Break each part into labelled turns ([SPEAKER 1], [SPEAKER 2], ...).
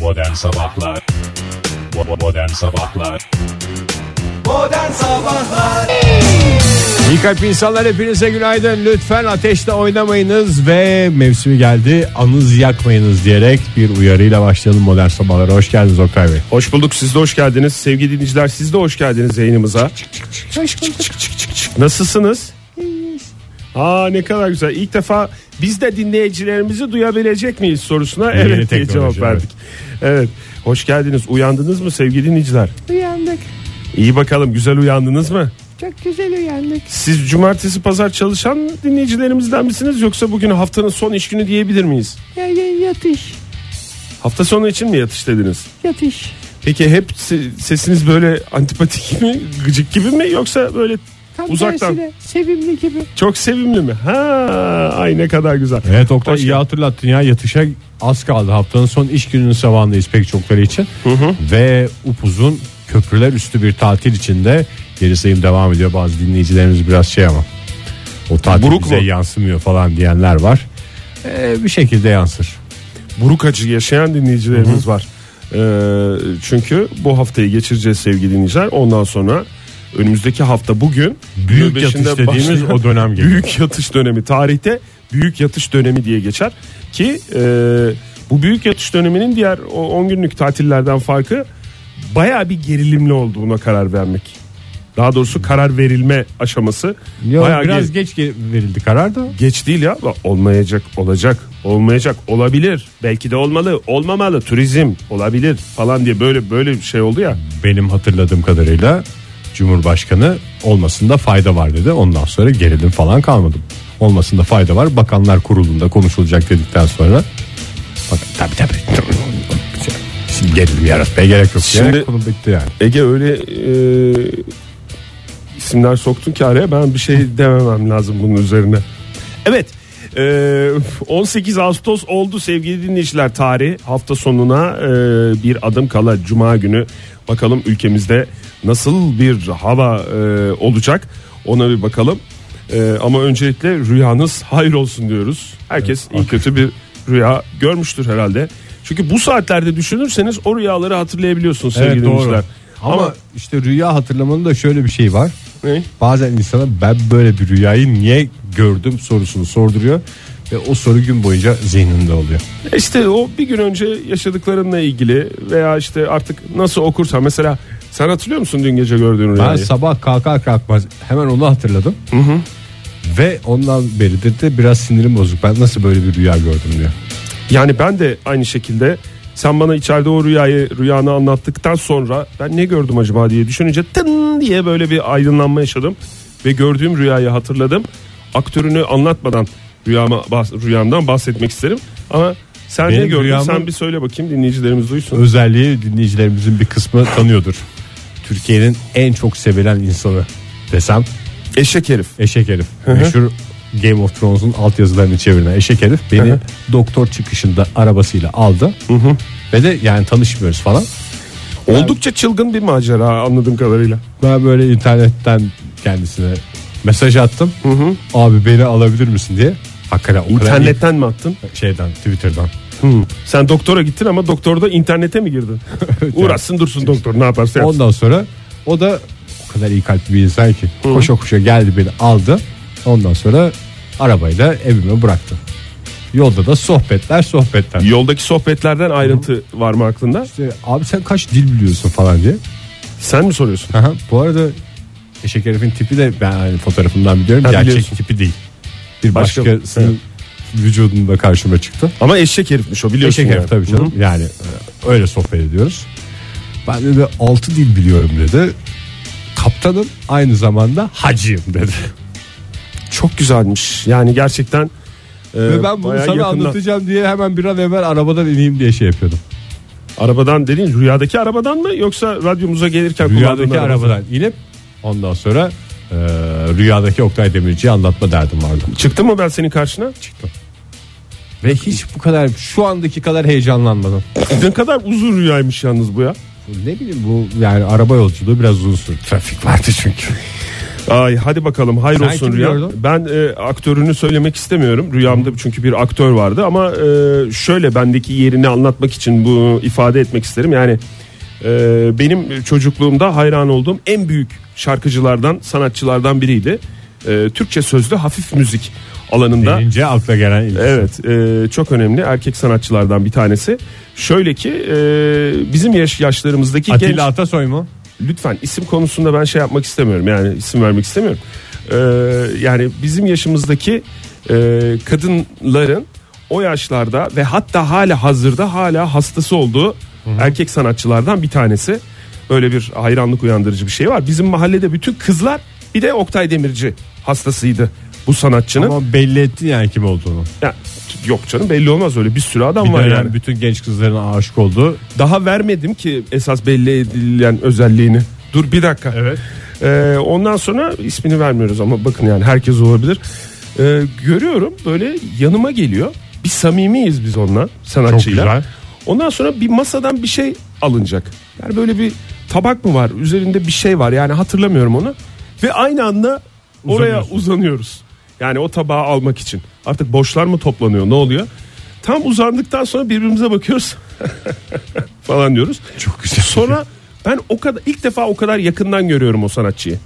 [SPEAKER 1] Modern Sabahlar Bo- Modern Sabahlar
[SPEAKER 2] İyi kalp insanlar hepinize günaydın. Lütfen ateşle oynamayınız ve mevsimi geldi anız yakmayınız diyerek bir uyarıyla başlayalım modern sabahlara. Hoş geldiniz Oktay Bey.
[SPEAKER 3] Hoş bulduk siz de hoş geldiniz. Sevgili dinleyiciler siz de hoş geldiniz yayınımıza. Nasılsınız? Aa ne kadar güzel. İlk defa biz de dinleyicilerimizi duyabilecek miyiz sorusuna
[SPEAKER 2] Yeni
[SPEAKER 3] evet diye
[SPEAKER 2] teknoloji,
[SPEAKER 3] cevap verdik. Evet. Hoş geldiniz. Uyandınız mı sevgili dinleyiciler?
[SPEAKER 4] Uyandık.
[SPEAKER 3] İyi bakalım güzel uyandınız mı?
[SPEAKER 4] Çok güzel uyandık.
[SPEAKER 3] Siz cumartesi pazar çalışan dinleyicilerimizden misiniz yoksa bugün haftanın son iş günü diyebilir miyiz?
[SPEAKER 4] Yani yatış.
[SPEAKER 3] Hafta sonu için mi yatış dediniz?
[SPEAKER 4] Yatış.
[SPEAKER 3] Peki hep se- sesiniz böyle antipatik mi, gıcık gibi mi yoksa böyle
[SPEAKER 4] Tam
[SPEAKER 3] Uzaktan.
[SPEAKER 4] tersine sevimli gibi.
[SPEAKER 3] çok sevimli mi? Ha, ay ne kadar güzel.
[SPEAKER 2] Evet Oktay
[SPEAKER 3] Hoş
[SPEAKER 2] iyi
[SPEAKER 3] geldin.
[SPEAKER 2] hatırlattın ya yatışa az kaldı haftanın son iş gününün sabahındayız pek çokları için. Ve upuzun köprüler üstü bir tatil içinde geri sayım devam ediyor bazı dinleyicilerimiz biraz şey ama o tatil
[SPEAKER 3] Buruk
[SPEAKER 2] bize
[SPEAKER 3] mu?
[SPEAKER 2] yansımıyor falan diyenler var. Ee, bir şekilde yansır.
[SPEAKER 3] Buruk acı yaşayan dinleyicilerimiz var. Ee, çünkü bu haftayı geçireceğiz sevgili dinleyiciler. Ondan sonra önümüzdeki hafta bugün
[SPEAKER 2] Büyük
[SPEAKER 3] nöbeşinde
[SPEAKER 2] yatış dediğimiz
[SPEAKER 3] başlayan
[SPEAKER 2] o dönem geliyor.
[SPEAKER 3] büyük yatış dönemi tarihte büyük yatış dönemi diye geçer ki e, bu büyük yatış döneminin diğer o 10 günlük tatillerden farkı baya bir gerilimli olduğuna karar vermek. Daha doğrusu karar verilme aşaması
[SPEAKER 2] Yok,
[SPEAKER 3] bayağı
[SPEAKER 2] biraz
[SPEAKER 3] geri-
[SPEAKER 2] geç ge- verildi karar da.
[SPEAKER 3] Geç değil ya. Olmayacak, olacak, olmayacak, olabilir. Belki de olmalı, olmamalı. Turizm olabilir falan diye böyle böyle bir şey oldu ya.
[SPEAKER 2] Benim hatırladığım kadarıyla Cumhurbaşkanı olmasında fayda var dedi. Ondan sonra gerilim falan kalmadı. Olmasında fayda var. Bakanlar Kurulu'nda konuşulacak dedikten sonra bak tabii tabii. Şimdi gerilim yaratmaya gerek yok.
[SPEAKER 3] Şimdi-
[SPEAKER 2] Şimdi konu bitti yani.
[SPEAKER 3] Ege öyle e, isimler soktun ki araya ben bir şey dememem lazım bunun üzerine. Evet. e, 18 Ağustos oldu sevgili dinleyiciler tarih hafta sonuna e, bir adım kala Cuma günü bakalım ülkemizde nasıl bir hava e, olacak ona bir bakalım E, ama öncelikle rüyanız hayır olsun diyoruz herkes
[SPEAKER 2] ah.
[SPEAKER 3] iyi kötü bir rüya görmüştür herhalde çünkü bu saatlerde düşünürseniz o rüyaları hatırlayabiliyorsunuz sevgili
[SPEAKER 2] Evet, doğru.
[SPEAKER 3] dinleyiciler
[SPEAKER 2] Ama, işte rüya hatırlamanın da şöyle bir şey var.
[SPEAKER 3] Ne?
[SPEAKER 2] Bazen insana ben böyle bir rüyayı niye gördüm sorusunu sorduruyor. Ve o soru gün boyunca zihninde oluyor.
[SPEAKER 3] İşte o bir gün önce yaşadıklarınla ilgili veya işte artık nasıl okursa mesela sen hatırlıyor musun dün gece gördüğün
[SPEAKER 2] Ben
[SPEAKER 3] rüyayı?
[SPEAKER 2] sabah kalkar kalkmaz hemen onu hatırladım. Ve ondan beridir de biraz sinirim bozuk. Ben nasıl böyle bir rüya gördüm diyor.
[SPEAKER 3] yani ben de aynı şekilde sen bana içeride o rüyayı rüyanı anlattıktan sonra ben ne gördüm acaba diye düşününce tın diye böyle bir aydınlanma yaşadım ve gördüğüm rüyayı hatırladım. Aktörünü anlatmadan rüyama bahs- rüyamdan bahsetmek isterim ama sen
[SPEAKER 2] Benim
[SPEAKER 3] ne gördün
[SPEAKER 2] rüyamı-
[SPEAKER 3] sen bir söyle bakayım dinleyicilerimiz duysun.
[SPEAKER 2] Özelliği dinleyicilerimizin bir kısmı tanıyordur. Türkiye'nin en çok sevilen insanı desem
[SPEAKER 3] Eşek herif.
[SPEAKER 2] eşek herif. Meşhur Game of Thrones'un altyazılarını çeviren eşek herif beni
[SPEAKER 3] Hı hı.
[SPEAKER 2] doktor çıkışında arabasıyla aldı. Ve de yani tanışmıyoruz falan.
[SPEAKER 3] Oldukça çılgın bir macera anladığım kadarıyla.
[SPEAKER 2] Ben böyle internetten kendisine mesaj attım. Abi beni alabilir misin diye. Hakikaten o kadar iyi-
[SPEAKER 3] İnternetten mi attın?
[SPEAKER 2] şeyden Twitter'dan.
[SPEAKER 3] Hı. Sen doktora gittin ama doktorda internete mi girdin? Uğraşsın dursun doktor ne yaparsa yapsın.
[SPEAKER 2] Ondan sonra o da o kadar iyi kalpli bir insan ki koşa koşa geldi beni aldı. Ondan sonra arabayla evime bıraktı. Yolda da sohbetler sohbetler.
[SPEAKER 3] Yoldaki sohbetlerden ayrıntı var mı aklında?
[SPEAKER 2] İşte, abi sen kaç dil biliyorsun falan diye.
[SPEAKER 3] Sen mi soruyorsun?
[SPEAKER 2] Aha, bu arada eşek herifin tipi de ben hani fotoğrafından biliyorum
[SPEAKER 3] Ha,
[SPEAKER 2] gerçek
[SPEAKER 3] biliyorsun.
[SPEAKER 2] tipi değil. Bir
[SPEAKER 3] Başka-
[SPEAKER 2] başkasının vücudunda karşıma çıktı.
[SPEAKER 3] Ama eşek herifmiş o biliyorsun.
[SPEAKER 2] Eşek herif
[SPEAKER 3] yani.
[SPEAKER 2] tabii canım. Yani e, öyle sohbet ediyoruz. Ben dedi 6 dil biliyorum dedi. Kaptanım aynı zamanda hacıyım dedi.
[SPEAKER 3] Çok güzelmiş. Yani gerçekten e,
[SPEAKER 2] Ve ben bunu
[SPEAKER 3] bayağı
[SPEAKER 2] sana
[SPEAKER 3] yakından-
[SPEAKER 2] anlatacağım diye hemen bir an evvel arabadan ineyim diye şey yapıyordum.
[SPEAKER 3] Arabadan dediğin rüyadaki arabadan mı yoksa radyomuza gelirken
[SPEAKER 2] Rüyadaki
[SPEAKER 3] kullandığın araba-
[SPEAKER 2] arabadan inip ondan sonra e, rüyadaki Oktay Demirci'yi anlatma derdim vardı.
[SPEAKER 3] Çıktı mı ben senin karşına?
[SPEAKER 2] Çıktım. Ve hiç bu kadar şu andaki kadar heyecanlanmadım.
[SPEAKER 3] ne kadar uzun rüyaymış yalnız bu ya.
[SPEAKER 2] Ne bileyim bu yani araba yolculuğu biraz uzun sürdü. Trafik vardı çünkü.
[SPEAKER 3] Ay hadi bakalım hayrolsun
[SPEAKER 2] kim
[SPEAKER 3] rüya.
[SPEAKER 2] gördün?
[SPEAKER 3] Ben e, aktörünü söylemek istemiyorum. Rüyamda çünkü bir aktör vardı ama e, şöyle bendeki yerini anlatmak için bu ifade etmek isterim. Yani e, benim çocukluğumda hayran olduğum en büyük şarkıcılardan, sanatçılardan biriydi. E, Türkçe sözlü hafif müzik alanında
[SPEAKER 2] Deyince akla gelen ilk.
[SPEAKER 3] Evet e, çok önemli erkek sanatçılardan bir tanesi. Şöyle ki e, bizim yaş yaşlarımızdaki genç-
[SPEAKER 2] Atilla Atasoy mu?
[SPEAKER 3] lütfen isim konusunda ben şey yapmak istemiyorum yani isim vermek istemiyorum. Ee, yani bizim yaşımızdaki e, kadınların o yaşlarda ve hatta hala hazırda hala hastası olduğu erkek sanatçılardan bir tanesi. Böyle bir hayranlık uyandırıcı bir şey var. Bizim mahallede bütün kızlar bir de Oktay Demirci hastasıydı bu sanatçının.
[SPEAKER 2] Ama belli etti yani kim olduğunu.
[SPEAKER 3] Ya, t- yok canım belli olmaz öyle bir sürü adam
[SPEAKER 2] Bir
[SPEAKER 3] var
[SPEAKER 2] dönem
[SPEAKER 3] yani.
[SPEAKER 2] bütün genç kızların aşık olduğu.
[SPEAKER 3] Daha vermedim ki esas belli edilen özelliğini. Dur bir dakika.
[SPEAKER 2] Evet.
[SPEAKER 3] Ee, ondan sonra ismini vermiyoruz ama bakın yani herkes olabilir. Ee, görüyorum böyle yanıma geliyor. Bir samimiyiz biz onunla sanatçıyla.
[SPEAKER 2] Çok güzel.
[SPEAKER 3] Ondan sonra bir masadan bir şey alınacak. Yani böyle bir tabak mı var? Üzerinde bir şey var. Yani hatırlamıyorum onu. Ve aynı anda oraya
[SPEAKER 2] Uzanıyorsun.
[SPEAKER 3] uzanıyoruz. Yani o tabağı almak için. Artık boşlar mı toplanıyor? Ne oluyor? Tam uzandıktan sonra birbirimize bakıyoruz. falan diyoruz.
[SPEAKER 2] Çok güzel.
[SPEAKER 3] Sonra ben o kadar ilk defa o kadar yakından görüyorum o sanatçıyı.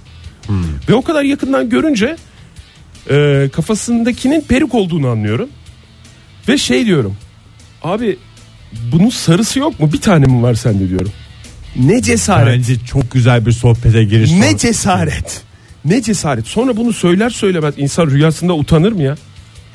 [SPEAKER 2] Hmm.
[SPEAKER 3] Ve o kadar yakından görünce e, kafasındakinin peruk olduğunu anlıyorum. Ve şey diyorum. Abi bunun sarısı yok mu? Bir tane mi var sende diyorum. Ne cesaret.
[SPEAKER 2] Bence çok güzel bir sohbete giriş.
[SPEAKER 3] Ne
[SPEAKER 2] oldu.
[SPEAKER 3] cesaret. Ne cesaret. Sonra bunu söyler söylemez insan rüyasında utanır mı ya?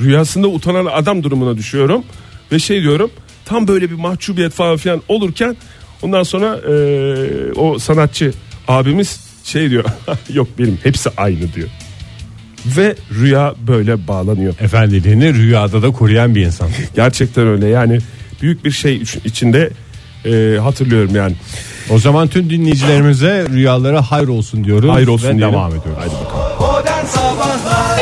[SPEAKER 3] Rüyasında utanan adam durumuna düşüyorum. Ve şey diyorum tam böyle bir mahcubiyet falan filan olurken ondan sonra eee, o sanatçı abimiz şey diyor yok benim hepsi aynı diyor. Ve rüya böyle bağlanıyor.
[SPEAKER 2] Efendiliğini rüyada da koruyan bir insan.
[SPEAKER 3] Gerçekten öyle yani büyük bir şey iç- içinde eee, hatırlıyorum yani.
[SPEAKER 2] O zaman tüm dinleyicilerimize rüyalara hayır olsun diyoruz.
[SPEAKER 3] Hayır olsun
[SPEAKER 2] ve
[SPEAKER 3] diyelim.
[SPEAKER 2] devam ediyoruz.
[SPEAKER 3] Haydi bakalım.
[SPEAKER 5] Modern Sabahlar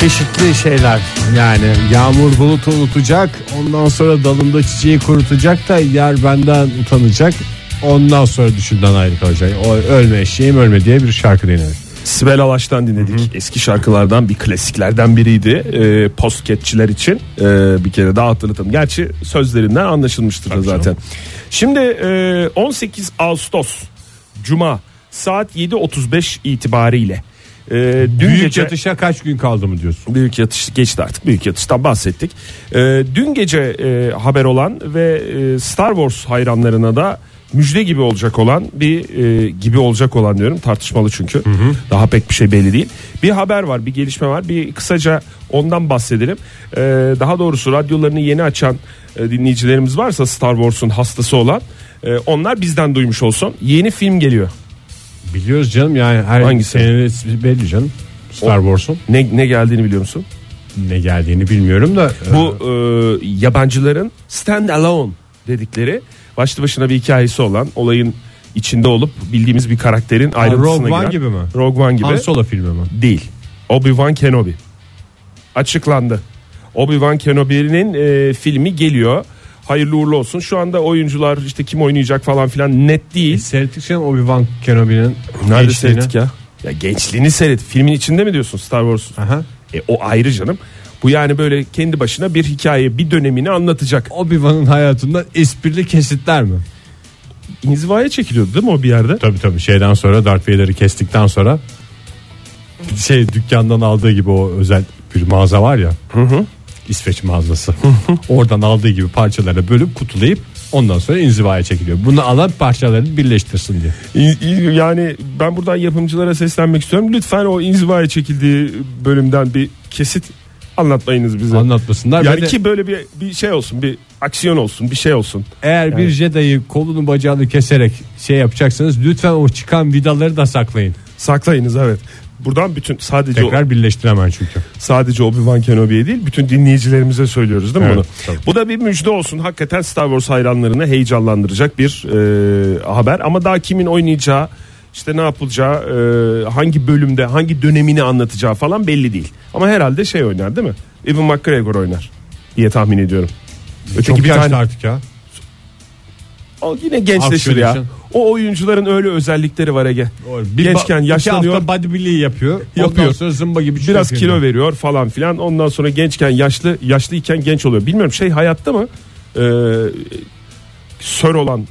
[SPEAKER 2] Çeşitli şeyler yani yağmur bulut unutacak ondan sonra dalında çiçeği kurutacak da yer benden utanacak ondan sonra düşünden ayrı kalacak. O ölme eşeğim ölme diye bir şarkı denir.
[SPEAKER 3] Sibel Alaş'tan dinledik. Eski şarkılardan bir klasiklerden biriydi. Ee, posketçiler için ee, bir kere daha hatırlatalım. Gerçi sözlerinden anlaşılmıştır da zaten. Şimdi ee, 18 Ağustos Cuma saat 7.35 itibariyle ee, dün
[SPEAKER 2] Büyük
[SPEAKER 3] gece-
[SPEAKER 2] çatışa kaç gün kaldı mı diyorsun?
[SPEAKER 3] Büyük yatış geçti artık büyük yatıştan bahsettik. Ee, dün gece e, haber olan ve e, Star Wars hayranlarına da müjde gibi olacak olan bir e, gibi olacak olan diyorum tartışmalı çünkü daha pek bir şey belli değil. Bir haber var bir gelişme var bir kısaca ondan bahsedelim. Ee, daha doğrusu radyolarını yeni açan e, dinleyicilerimiz varsa Star Wars'un hastası olan e, onlar bizden duymuş olsun. Yeni film geliyor.
[SPEAKER 2] Biliyoruz canım yani her
[SPEAKER 3] Hangisi?
[SPEAKER 2] senesi belli canım. Star Wars'un
[SPEAKER 3] Ne, ne geldiğini biliyor musun?
[SPEAKER 2] ne geldiğini bilmiyorum da
[SPEAKER 3] Bu e, yabancıların stand alone dedikleri başlı başına bir hikayesi olan olayın içinde olup bildiğimiz bir karakterin ayrıntısına
[SPEAKER 2] Rogue One
[SPEAKER 3] giren-
[SPEAKER 2] gibi mi?
[SPEAKER 3] Rogue One gibi
[SPEAKER 2] Han Solo filmi mi?
[SPEAKER 3] değil. Obi-Wan Kenobi açıklandı. Obi-Wan Kenobi'nin e, filmi geliyor. Hayırlı uğurlu olsun. Şu anda oyuncular işte kim oynayacak falan filan net değil.
[SPEAKER 2] Seyrettik sen Obi-Wan Kenobi'nin
[SPEAKER 3] Nerede
[SPEAKER 2] gençliğini.
[SPEAKER 3] seyrettik ya? Ya gençliğini seyret. Filmin içinde mi diyorsun Star Wars?
[SPEAKER 2] Aha.
[SPEAKER 3] E, o ayrı canım. Bu yani böyle kendi başına bir hikaye, bir dönemini anlatacak.
[SPEAKER 2] Obi-Wan'ın hayatından esprili kesitler mi?
[SPEAKER 3] inzivaya çekiliyordu değil mi o bir yerde?
[SPEAKER 2] Tabii tabii şeyden sonra Darth Vader'ı kestikten sonra şey dükkandan aldığı gibi o özel bir mağaza var ya. İsveç mağazası. Oradan aldığı gibi parçalara bölüp kutulayıp ondan sonra inzivaya çekiliyor. Bunu alan parçalarını birleştirsin diye.
[SPEAKER 3] İ- i- Yani ben buradan yapımcılara seslenmek istiyorum. Lütfen o inzivaya çekildiği bölümden bir kesit anlatmayınız bize.
[SPEAKER 2] Anlatmasınlar.
[SPEAKER 3] yani
[SPEAKER 2] Ve de
[SPEAKER 3] ki böyle bir bir şey olsun, bir aksiyon olsun, bir şey olsun.
[SPEAKER 2] eğer bir Jedi'yi kolunu bacağını keserek şey yapacaksanız lütfen o çıkan vidaları da saklayın.
[SPEAKER 3] Saklayınız evet. Buradan bütün sadece
[SPEAKER 2] Tekrar birleştiremem çünkü.
[SPEAKER 3] sadece Obi-Wan Kenobi'ye değil bütün dinleyicilerimize söylüyoruz değil mi
[SPEAKER 2] Evet,
[SPEAKER 3] bunu?
[SPEAKER 2] tabii.
[SPEAKER 3] Bu da bir müjde olsun. Hakikaten Star Wars hayranlarını heyecanlandıracak bir e, haber. Ama daha kimin oynayacağı, işte ne yapılacağı, e, hangi bölümde, hangi dönemini anlatacağı falan belli değil. Ama herhalde şey oynar değil mi? Evan McGregor oynar diye tahmin ediyorum. Öteki
[SPEAKER 2] Çok
[SPEAKER 3] bir
[SPEAKER 2] yaşlı
[SPEAKER 3] tane
[SPEAKER 2] artık ya.
[SPEAKER 3] o yine gençleşir
[SPEAKER 2] Aksiyon
[SPEAKER 3] ya.
[SPEAKER 2] için.
[SPEAKER 3] O oyuncuların öyle özellikleri var Ege.
[SPEAKER 2] Bir
[SPEAKER 3] Gençken
[SPEAKER 2] ba- iki
[SPEAKER 3] yaşlanıyor.
[SPEAKER 2] hafta bodybuilding yapıyor. Ondan
[SPEAKER 3] Yapıyor.
[SPEAKER 2] sonra zımba gibi şey çıkıyor.
[SPEAKER 3] Biraz kilo veriyor falan filan. Ondan sonra gençken yaşlı, yaşlıyken genç oluyor. Bilmiyorum şey hayatta mı? Ee, Sör olan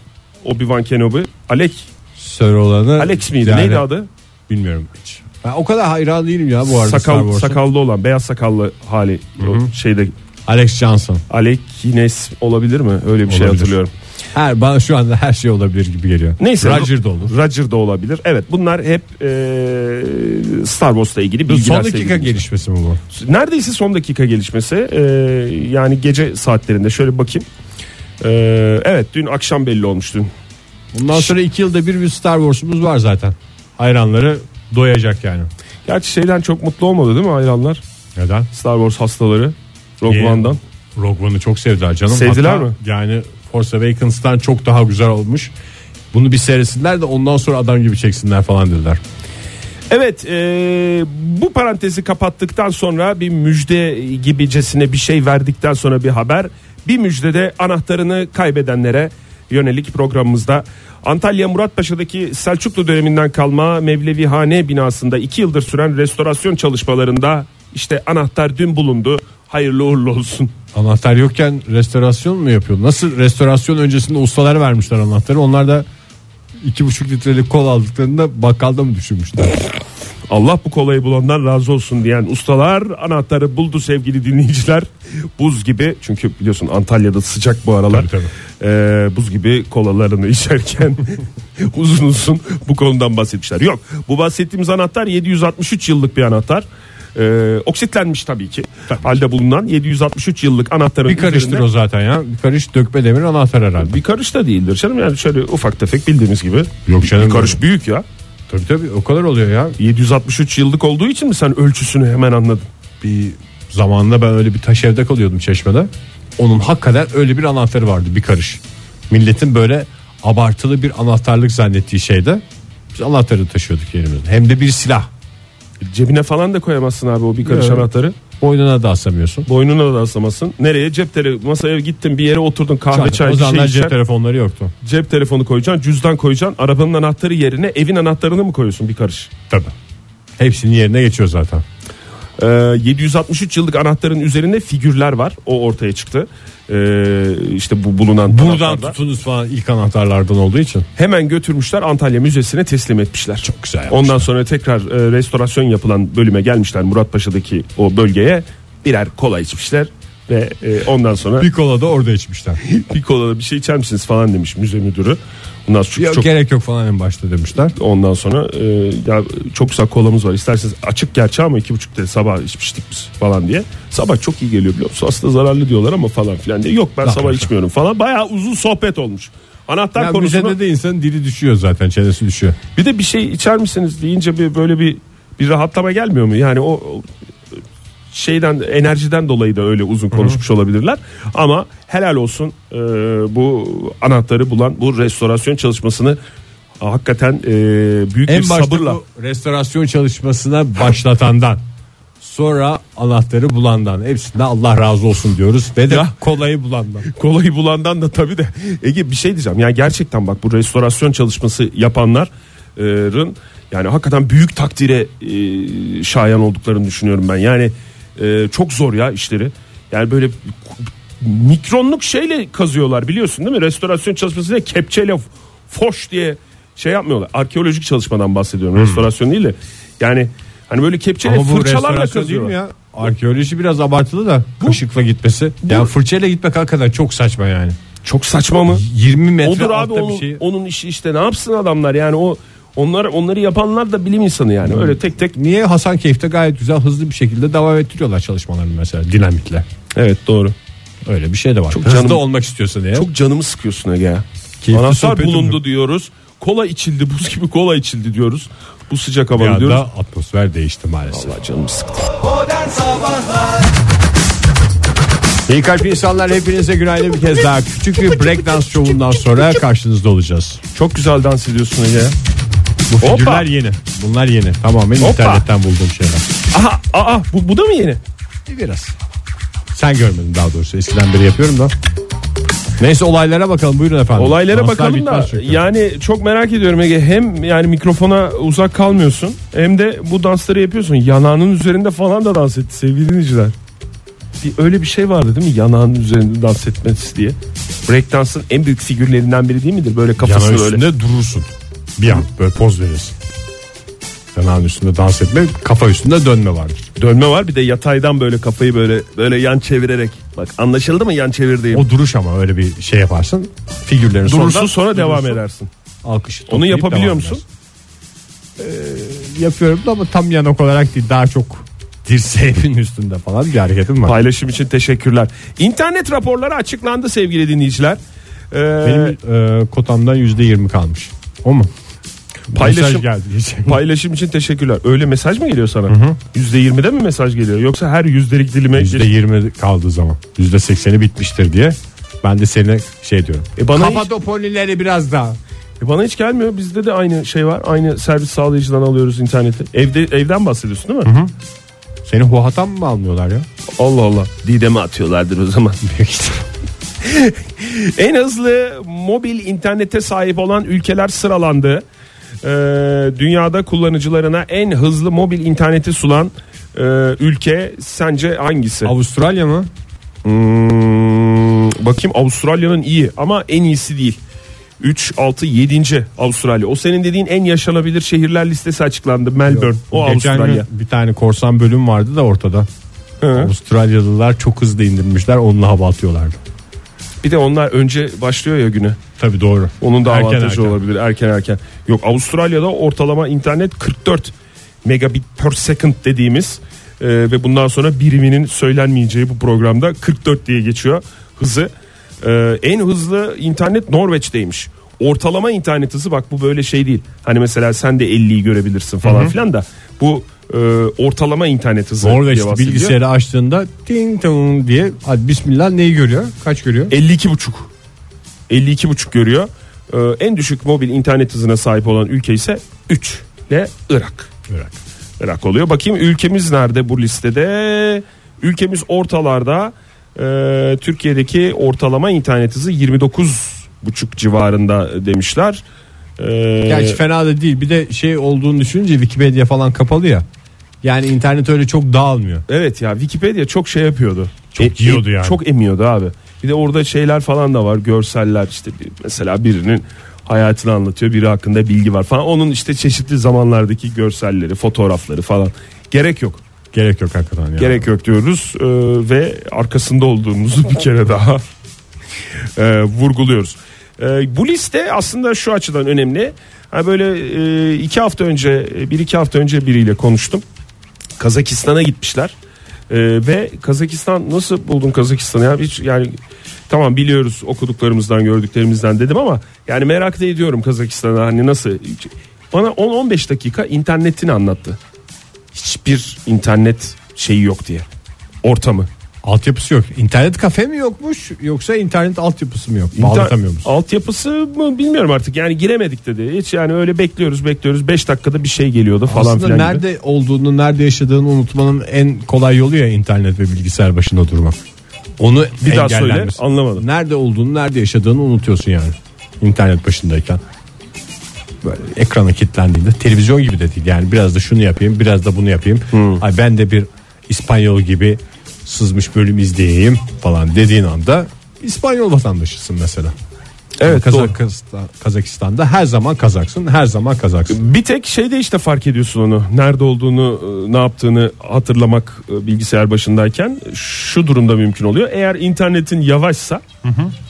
[SPEAKER 3] Obi-Wan Kenobi. Alex,
[SPEAKER 2] Sör olanı.
[SPEAKER 3] Alex miydi?
[SPEAKER 2] Yani
[SPEAKER 3] Neydi adı?
[SPEAKER 2] Bilmiyorum hiç. Ben o kadar hayran değilim ya bu arada Star
[SPEAKER 3] Sakal,
[SPEAKER 2] Wars'a.
[SPEAKER 3] sakallı olan, beyaz sakallı hali. O şeyde
[SPEAKER 2] Alex Johnson.
[SPEAKER 3] Alec Guinness olabilir mi? Öyle bir şey
[SPEAKER 2] Olabilir.
[SPEAKER 3] hatırlıyorum.
[SPEAKER 2] Her, bana şu anda her şey olabilir gibi geliyor.
[SPEAKER 3] Neyse.
[SPEAKER 2] Roger da olur.
[SPEAKER 3] Roger da olabilir. Evet bunlar hep e, Star Wars'la ilgili bilgiler.
[SPEAKER 2] Son dakika
[SPEAKER 3] sevgili
[SPEAKER 2] gelişmesi mi bu?
[SPEAKER 3] neredeyse son dakika gelişmesi Ee, yani gece saatlerinde şöyle bir bakayım. Ee, evet dün akşam belli olmuş dün.
[SPEAKER 2] Bundan sonra iki yılda bir bir Star Wars'umuz var zaten. Hayranları doyacak yani.
[SPEAKER 3] Gerçi şeyden çok mutlu olmadı değil mi hayranlar?
[SPEAKER 2] Neden?
[SPEAKER 3] Star Wars hastaları Rogue
[SPEAKER 2] Niye?
[SPEAKER 3] One'dan.
[SPEAKER 2] Rogue One'u çok sevdiler canım.
[SPEAKER 3] Sevdiler mi?
[SPEAKER 2] Yani Force Awakens'tan çok daha güzel olmuş. Bunu bir seyretsinler de ondan sonra adam gibi çeksinler falan dediler.
[SPEAKER 3] Evet ee, bu parantezi kapattıktan sonra bir müjde gibicesine bir şey verdikten sonra bir haber. Bir müjde de anahtarını kaybedenlere yönelik programımızda. Antalya Muratpaşa'daki Selçuklu döneminden kalma Mevlevihane binasında 2 yıldır süren restorasyon çalışmalarında işte anahtar dün bulundu. Hayırlı uğurlu olsun.
[SPEAKER 2] Anahtar yokken restorasyon mu yapıyor? Nasıl restorasyon öncesinde ustalar vermişler anahtarı. Onlar da iki buçuk litrelik kol aldıklarında bakkalda mı düşünmüşler?
[SPEAKER 3] Allah bu kolayı bulandan razı olsun diyen ustalar anahtarı buldu sevgili dinleyiciler. Buz gibi çünkü biliyorsun Antalya'da sıcak bu aralar.
[SPEAKER 2] Tabii,
[SPEAKER 3] Ee, buz gibi kolalarını içerken uzun uzun bu konudan bahsetmişler. Yok bu bahsettiğimiz anahtar 763 yıllık bir anahtar. Ee, oksitlenmiş tabii ki. Halde bulunan 763 yıllık anahtarın
[SPEAKER 2] bir karıştır
[SPEAKER 3] üzerine-
[SPEAKER 2] o zaten ya. Bir karış dökme demir anahtar herhalde.
[SPEAKER 3] Bir karış da değildir canım yani şöyle ufak tefek bildiğimiz gibi.
[SPEAKER 2] Yok canım.
[SPEAKER 3] Bir karış büyük ya.
[SPEAKER 2] Tabii tabii o kadar oluyor ya.
[SPEAKER 3] 763 yıllık olduğu için mi sen ölçüsünü hemen anladın?
[SPEAKER 2] bir zamanında ben öyle bir taş evde kalıyordum çeşmede. Onun hakikaten öyle bir anahtarı vardı bir karış. Milletin böyle abartılı bir anahtarlık zannettiği şeyde biz anahtarı taşıyorduk yerimizde. Hem de bir silah.
[SPEAKER 3] Cebine falan da koyamazsın abi o bir karış
[SPEAKER 2] Evet.
[SPEAKER 3] anahtarı.
[SPEAKER 2] Boynuna da asamıyorsun.
[SPEAKER 3] Boynuna da aslamasın. Nereye? Cep telefonu. Masaya gittin bir yere oturdun kahve çay
[SPEAKER 2] o
[SPEAKER 3] bir şey
[SPEAKER 2] zamanlar
[SPEAKER 3] içeceksin.
[SPEAKER 2] cep telefonları yoktu.
[SPEAKER 3] Cep telefonu koyacaksın, cüzdan koyacaksın. Arabanın anahtarı yerine evin anahtarını mı koyuyorsun bir karış?
[SPEAKER 2] Tabii. Hepsinin yerine geçiyor zaten.
[SPEAKER 3] Ee, 763 yıllık anahtarın üzerinde figürler var. O ortaya çıktı. Ee, işte bu bulunan
[SPEAKER 2] Buradan
[SPEAKER 3] anahtarda.
[SPEAKER 2] tutunuz falan ilk anahtarlardan olduğu için.
[SPEAKER 3] Hemen götürmüşler Antalya Müzesi'ne teslim etmişler.
[SPEAKER 2] Çok güzel yapmışlar.
[SPEAKER 3] Ondan sonra tekrar e, restorasyon yapılan bölüme gelmişler Muratpaşa'daki o bölgeye. Birer kola içmişler ve e, ondan sonra
[SPEAKER 2] Bir kola da orada içmişler.
[SPEAKER 3] bir kolada bir şey içer misiniz falan demiş müze müdürü. Ondan sonra
[SPEAKER 2] Yok,
[SPEAKER 3] çok
[SPEAKER 2] Gerek yok falan en başta demişler.
[SPEAKER 3] ondan sonra e, ya çok güzel kolamız var. İsterseniz açık gerçi ama iki buçukta sabah içmiştik biz falan diye. Sabah çok iyi geliyor biliyor musun? Aslında zararlı diyorlar ama falan filan diye. Yok ben
[SPEAKER 2] Daha
[SPEAKER 3] sabah
[SPEAKER 2] güzel.
[SPEAKER 3] içmiyorum falan. Bayağı uzun sohbet olmuş. Anahtar
[SPEAKER 2] Yani
[SPEAKER 3] konusunu.
[SPEAKER 2] müzede de insanın dili düşüyor zaten çenesi düşüyor.
[SPEAKER 3] Bir de bir şey içer misiniz deyince bir böyle bir bir rahatlama gelmiyor mu? Yani o o şeyden enerjiden dolayı da öyle uzun konuşmuş olabilirler. Ama helal olsun e, bu anahtarı bulan bu restorasyon çalışmasını hakikaten e, büyük bir
[SPEAKER 2] En başta
[SPEAKER 3] sabırla.
[SPEAKER 2] bu restorasyon çalışmasına başlatandan sonra anahtarı bulandan hepsine Allah razı olsun diyoruz ve de
[SPEAKER 3] Ya.
[SPEAKER 2] kolayı bulandan.
[SPEAKER 3] Kolayı bulandan da tabii de Ege bir şey diyeceğim. Yani gerçekten bak bu restorasyon çalışması yapanların yani hakikaten büyük takdire e, şayan olduklarını düşünüyorum ben. Yani e, çok zor ya işleri. Yani böyle mikronluk şeyle kazıyorlar biliyorsun değil mi? Restorasyon çalışmasıyla kepçeyle foş diye şey yapmıyorlar. Arkeolojik çalışmadan bahsediyorum. Restorasyon değil de. Yani hani böyle kepçeyle
[SPEAKER 2] Hmm. Ama bu
[SPEAKER 3] fırçalarla
[SPEAKER 2] restorasyon değil mi
[SPEAKER 3] kazıyorlar.
[SPEAKER 2] ya? Arkeoloji biraz abartılı da kaşıkla gitmesi. yani fırçayla gitmek hakikaten çok saçma yani.
[SPEAKER 3] Çok saçma mı?
[SPEAKER 2] 20 metre
[SPEAKER 3] Odur abi
[SPEAKER 2] altta
[SPEAKER 3] onun,
[SPEAKER 2] bir şey.
[SPEAKER 3] onun işi işte ne yapsın adamlar yani o onlar onları yapanlar da bilim insanı yani öyle tek tek.
[SPEAKER 2] Niye Hasankeyf'te gayet güzel hızlı bir şekilde devam ettiriyorlar çalışmalarını mesela dinamikle.
[SPEAKER 3] Evet doğru.
[SPEAKER 2] Öyle bir şey de var.
[SPEAKER 3] Çok
[SPEAKER 2] hızlı
[SPEAKER 3] canım-
[SPEAKER 2] olmak istiyorsan eğer.
[SPEAKER 3] Çok canımı sıkıyorsun Ege ya.
[SPEAKER 2] Keyifli
[SPEAKER 3] Anahtar
[SPEAKER 2] sohbetim
[SPEAKER 3] bulundu
[SPEAKER 2] yok.
[SPEAKER 3] diyoruz. Kola içildi buz gibi kola içildi diyoruz. Bu sıcak
[SPEAKER 2] bir
[SPEAKER 3] hava
[SPEAKER 2] anda
[SPEAKER 3] diyoruz.
[SPEAKER 2] atmosfer değişti maalesef.
[SPEAKER 3] Allah canımı sıktı.
[SPEAKER 5] Modern Sabahlar
[SPEAKER 2] İyi kalp insanlar hepinize günaydın bir kez daha. Küçük bir breakdance şovundan sonra karşınızda olacağız.
[SPEAKER 3] Çok güzel dans ediyorsun Ege. ya.
[SPEAKER 2] Bu
[SPEAKER 3] Hoppa.
[SPEAKER 2] figürler yeni. Bunlar yeni. Tamamen
[SPEAKER 3] Hoppa.
[SPEAKER 2] internetten bulduğum şeyler.
[SPEAKER 3] Aha aa bu, bu da mı yeni?
[SPEAKER 2] E, Biraz. Sen görmedin daha doğrusu. Eskiden beri yapıyorum da. Neyse olaylara bakalım buyurun efendim.
[SPEAKER 3] Olaylara
[SPEAKER 2] Transfer
[SPEAKER 3] bakalım da
[SPEAKER 2] bitmez çünkü.
[SPEAKER 3] yani çok merak ediyorum Ege. Hem yani mikrofona uzak kalmıyorsun hem de bu dansları yapıyorsun. Yanağının üzerinde falan da dans etti sevgili dinleyiciler. Bir, öyle bir şey vardı değil mi? Yanağının üzerinde dans etmesi diye. Breakdance'ın en büyük figürlerinden biri değil midir? Böyle
[SPEAKER 2] Yanağın
[SPEAKER 3] kafasını böyle.
[SPEAKER 2] üstünde durursun. Bir an böyle poz verirsin. Yanağın üstünde dans etme, kafa üstünde dönme vardır.
[SPEAKER 3] Dönme var bir de yataydan böyle kafayı böyle böyle yan çevirerek. Bak anlaşıldı mı yan çevirdiğim?
[SPEAKER 2] O duruş ama öyle bir şey yaparsın. Figürlerin
[SPEAKER 3] Durursun
[SPEAKER 2] sonunda-
[SPEAKER 3] sonra devam
[SPEAKER 2] durursun,
[SPEAKER 3] edersin.
[SPEAKER 2] Alkışı
[SPEAKER 3] Onu
[SPEAKER 2] toplayıp
[SPEAKER 3] yapabiliyor
[SPEAKER 2] devam
[SPEAKER 3] musun?
[SPEAKER 2] edersin. Yapıyorum da ama tam yanak olarak değil daha çok dirseğimin üstünde falan bir hareketim var.
[SPEAKER 3] Paylaşım için teşekkürler. İnternet raporları açıklandı sevgili dinleyiciler. Ee,
[SPEAKER 2] Benim e, kotamdan yüzde yirmi kalmış. O mu?
[SPEAKER 3] Paylaşım-
[SPEAKER 2] Mesaj geldi. geçen.
[SPEAKER 3] Paylaşım için teşekkürler. Öyle mesaj mı geliyor sana? %20'de mi mesaj geliyor? Yoksa her yüzdelik dilime...
[SPEAKER 2] Yüzde yirmi kaldığı zaman. Yüzde sekseni bitmiştir diye. Ben de seninle şey diyorum.
[SPEAKER 3] E bana, hiç,
[SPEAKER 2] doponileri biraz daha.
[SPEAKER 3] e bana hiç gelmiyor. Bizde de aynı şey var. Aynı servis sağlayıcıdan alıyoruz interneti. Evde Evden bahsediyorsun değil mi?
[SPEAKER 2] Seni Huatam mı almıyorlar ya?
[SPEAKER 3] Allah Allah. Didem'e atıyorlardır o zaman. en hızlı mobil internete sahip olan ülkeler sıralandı. Ee, dünyada kullanıcılarına en hızlı mobil interneti sunan e, ülke sence hangisi?
[SPEAKER 2] Avustralya mı?
[SPEAKER 3] Hmm, bakayım Avustralya'nın iyi ama en iyisi değil. 3, 6, 7. Avustralya. O senin dediğin en yaşanabilir şehirler listesi açıklandı. Melbourne. o
[SPEAKER 2] Geçen gün
[SPEAKER 3] Avustralya.
[SPEAKER 2] bir tane korsan bölüm vardı da ortada.
[SPEAKER 3] Hı.
[SPEAKER 2] Avustralyalılar çok hızlı indirmişler onunla hava atıyorlardı.
[SPEAKER 3] Bir de onlar önce başlıyor ya güne.
[SPEAKER 2] Tabi doğru.
[SPEAKER 3] Onun da
[SPEAKER 2] Erken
[SPEAKER 3] avantajı
[SPEAKER 2] erken.
[SPEAKER 3] olabilir erken erken. Yok Avustralya'da ortalama internet 44 megabit per second dediğimiz e, ve bundan sonra biriminin söylenmeyeceği bu programda 44 diye geçiyor hızı. E, en hızlı internet Norveç'teymiş. Ortalama internet hızı bak bu böyle şey değil. Hani mesela sen de 50'yi görebilirsin falan filan da bu e, ortalama internet hızı. diye
[SPEAKER 2] Norveç'te
[SPEAKER 3] bahsediliyor.
[SPEAKER 2] bilgisayarı açtığında ding dong diye hadi bismillah neyi görüyor? Kaç görüyor?
[SPEAKER 3] 52 buçuk. 52 buçuk görüyor. Ee, en düşük mobil internet hızına sahip olan ülke ise 3 ile Irak.
[SPEAKER 2] Irak.
[SPEAKER 3] Irak oluyor. Bakayım ülkemiz nerede bu listede? Ülkemiz ortalarda. Ee, Türkiye'deki ortalama internet hızı 29 buçuk civarında demişler. Ee,
[SPEAKER 2] Gerçi fena da değil. Bir de şey olduğunu düşününce Wikipedia falan kapalı ya. Yani internet öyle çok dağılmıyor.
[SPEAKER 3] Evet ya Wikipedia çok şey yapıyordu.
[SPEAKER 2] Çok yiyordu yani.
[SPEAKER 3] e, Çok emiyordu abi. Bir de orada şeyler falan da var. Görseller işte bir, mesela birinin hayatını anlatıyor. Biri hakkında bilgi var falan. Onun işte çeşitli zamanlardaki görselleri, fotoğrafları falan. Gerek yok.
[SPEAKER 2] Gerek yok hakikaten ya.
[SPEAKER 3] Gerek yok diyoruz Ee, ve arkasında olduğumuzu bir kere daha e, vurguluyoruz. Ee, bu liste aslında şu açıdan önemli. Ha böyle e, iki hafta önce, bir iki hafta önce biriyle konuştum. Kazakistan'a gitmişler. Ee, ve Kazakistan nasıl buldun Kazakistan'ı ya hiç yani tamam biliyoruz okuduklarımızdan gördüklerimizden dedim ama yani merak da ediyorum Kazakistan'a hani nasıl bana 10-15 dakika internetini anlattı. Hiçbir internet şeyi yok diye. Ortamı.
[SPEAKER 2] Altyapısı yok. İnternet kafe mi yokmuş yoksa internet altyapısı mı yok? Bağlatamıyor musun?
[SPEAKER 3] Altyapısı mı bilmiyorum artık. Yani giremedik dedi. Hiç yani öyle bekliyoruz bekliyoruz. 5 dakikada bir şey geliyordu falan
[SPEAKER 2] Aslında
[SPEAKER 3] filan. gibi.
[SPEAKER 2] nerede olduğunu, nerede yaşadığını unutmanın en kolay yolu ya internet ve bilgisayar başında durmak. Onu
[SPEAKER 3] Bir daha söyle,
[SPEAKER 2] engellenmesi.
[SPEAKER 3] anlamadım.
[SPEAKER 2] Nerede olduğunu, nerede yaşadığını unutuyorsun yani. İnternet başındayken. Böyle ekrana kilitlendiğinde televizyon gibi de değil. Yani biraz da şunu yapayım, biraz da bunu yapayım.
[SPEAKER 3] Hmm.
[SPEAKER 2] Ay ben de bir İspanyol gibi sızmış bölüm izleyeyim falan dediğin anda İspanyol vatandaşısın mesela.
[SPEAKER 3] Evet,
[SPEAKER 2] Kazak-
[SPEAKER 3] doğru.
[SPEAKER 2] Kazakistan- Kazakistan'da her zaman Kazaksın, her zaman Kazaksın.
[SPEAKER 3] Bir tek şeyde işte fark ediyorsun onu. Nerede olduğunu, e, ne yaptığını hatırlamak e, bilgisayar başındayken şu durumda mümkün oluyor. Eğer internetin yavaşsa,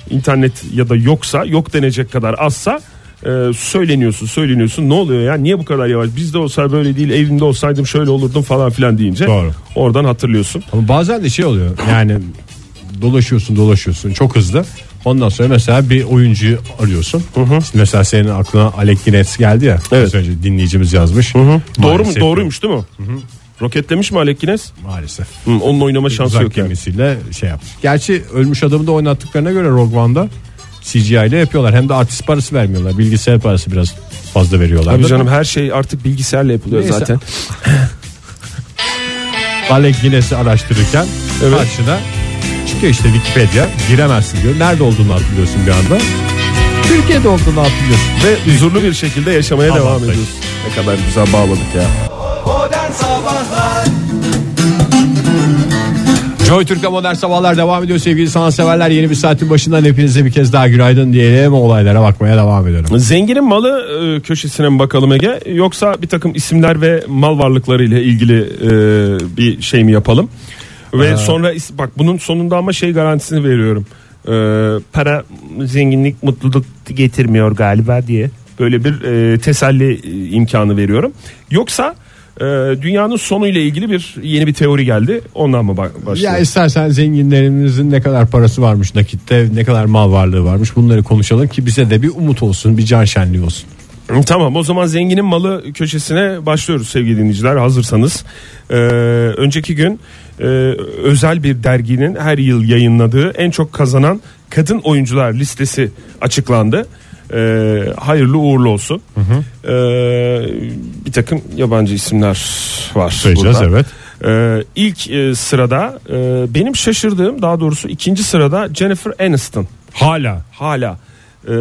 [SPEAKER 3] internet ya da yoksa, yok denecek kadar azsa e, söyleniyorsun, söyleniyorsun. Ne oluyor ya? Niye bu kadar yavaş? Bizde olsa böyle değil, evimde olsaydım şöyle olurdum falan filan deyince
[SPEAKER 2] Doğru.
[SPEAKER 3] oradan hatırlıyorsun.
[SPEAKER 2] Ama bazen de şey oluyor yani dolaşıyorsun dolaşıyorsun çok hızlı. Ondan sonra mesela bir oyuncuyu arıyorsun. İşte Mesela senin aklına Alek Guinness geldi ya.
[SPEAKER 3] Evet.
[SPEAKER 2] az önce dinleyicimiz yazmış.
[SPEAKER 3] Doğru mu?
[SPEAKER 2] Maalesef
[SPEAKER 3] Doğruymuş değil mi? Roketlemiş mi Alek Guinness?
[SPEAKER 2] yok. Maalesef.
[SPEAKER 3] Hı, onun oynama şansı
[SPEAKER 2] Uzak
[SPEAKER 3] yok yani.
[SPEAKER 2] gemisiyle şey yapmış. Gerçi ölmüş adamı da oynattıklarına göre Rogue One'da CGI ile yapıyorlar. Hem de artist parası vermiyorlar. Bilgisayar parası biraz fazla veriyorlar.
[SPEAKER 3] Tabii canım her şey artık bilgisayarla yapılıyor
[SPEAKER 2] Neyse.
[SPEAKER 3] zaten.
[SPEAKER 2] Alec Guinness'i araştırırken
[SPEAKER 3] Evet.
[SPEAKER 2] karşına çıkıyor işte Wikipedia. Giremezsin diyor. Nerede olduğunu hatırlıyorsun bir anda. Türkiye'de olduğunu hatırlıyorsun.
[SPEAKER 3] Ve huzurlu bir şekilde yaşamaya
[SPEAKER 2] Tamam,
[SPEAKER 3] devam
[SPEAKER 2] peki.
[SPEAKER 3] ediyoruz. Ne kadar güzel bağladık ya.
[SPEAKER 5] Modern Sabahlar
[SPEAKER 2] Joy Türk'te modern sabahlar devam ediyor sevgili sanatseverler. Yeni bir saatin başından hepinize bir kez daha günaydın diyelim. Olaylara bakmaya devam edelim.
[SPEAKER 3] Zenginin malı e, köşesine mi bakalım Ege yoksa bir takım isimler ve mal varlıkları ile ilgili e, bir şey mi yapalım? Ve sonra is- bak bunun sonunda ama şey garantisini veriyorum. E, para zenginlik mutluluk getirmiyor galiba diye böyle bir e, teselli e, imkanı veriyorum. Yoksa e, dünyanın sonu ile ilgili bir yeni bir teori geldi. Ondan mı ba-
[SPEAKER 2] Ya
[SPEAKER 3] başlayalım?
[SPEAKER 2] istersen zenginlerimizin ne kadar parası varmış nakitte, ne kadar mal varlığı varmış bunları konuşalım ki bize de bir umut olsun, bir can şenliği olsun.
[SPEAKER 3] Tamam o zaman zenginin malı köşesine başlıyoruz sevgili dinleyiciler hazırsanız. Ee, önceki gün e, özel bir derginin her yıl yayınladığı en çok kazanan kadın oyuncular listesi açıklandı. Ee, hayırlı uğurlu olsun. Ee, bir takım yabancı isimler var.
[SPEAKER 2] Söyleyeceğiz,
[SPEAKER 3] burada.
[SPEAKER 2] evet.
[SPEAKER 3] Ee, ilk e, sırada e, benim şaşırdığım daha doğrusu ikinci sırada Jennifer Aniston
[SPEAKER 2] Hala.
[SPEAKER 3] hala e,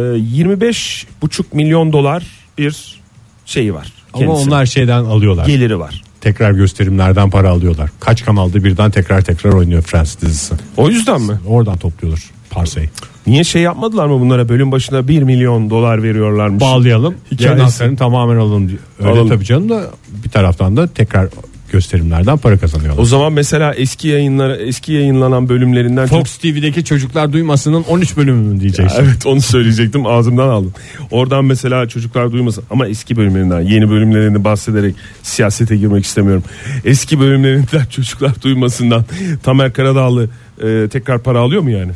[SPEAKER 3] 25,5 milyon dolar bir şeyi var.
[SPEAKER 2] Ama
[SPEAKER 3] kendisinin.
[SPEAKER 2] onlar şeyden alıyorlar.
[SPEAKER 3] geliri var.
[SPEAKER 2] tekrar gösterimlerden para alıyorlar. Kaç kanalda birden tekrar tekrar oynuyor Friends dizisi.
[SPEAKER 3] O yüzden mi?
[SPEAKER 2] Oradan topluyorlar parsayı.
[SPEAKER 3] Niye şey yapmadılar mı bunlara bölüm başına 1 milyon dolar veriyorlarmış.
[SPEAKER 2] Bağlayalım.
[SPEAKER 3] Hikayesi.
[SPEAKER 2] Yayın haklarını tamamen alalım. diyor. Öyle
[SPEAKER 3] Alalım.
[SPEAKER 2] tabii canım da bir taraftan da tekrar gösterimlerden para kazanıyorlar.
[SPEAKER 3] O zaman mesela eski yayınlara eski yayınlanan bölümlerinden çok-
[SPEAKER 2] Fox TV'deki çocuklar duymasının 13 bölümünü diyeceksin.
[SPEAKER 3] Evet onu söyleyecektim ağzımdan aldım. Oradan mesela çocuklar duymasın ama eski bölümlerinden yeni bölümlerini bahsederek siyasete girmek istemiyorum. Eski bölümlerinden çocuklar duymasından Tamer Karadağlı e, tekrar para alıyor mu yani?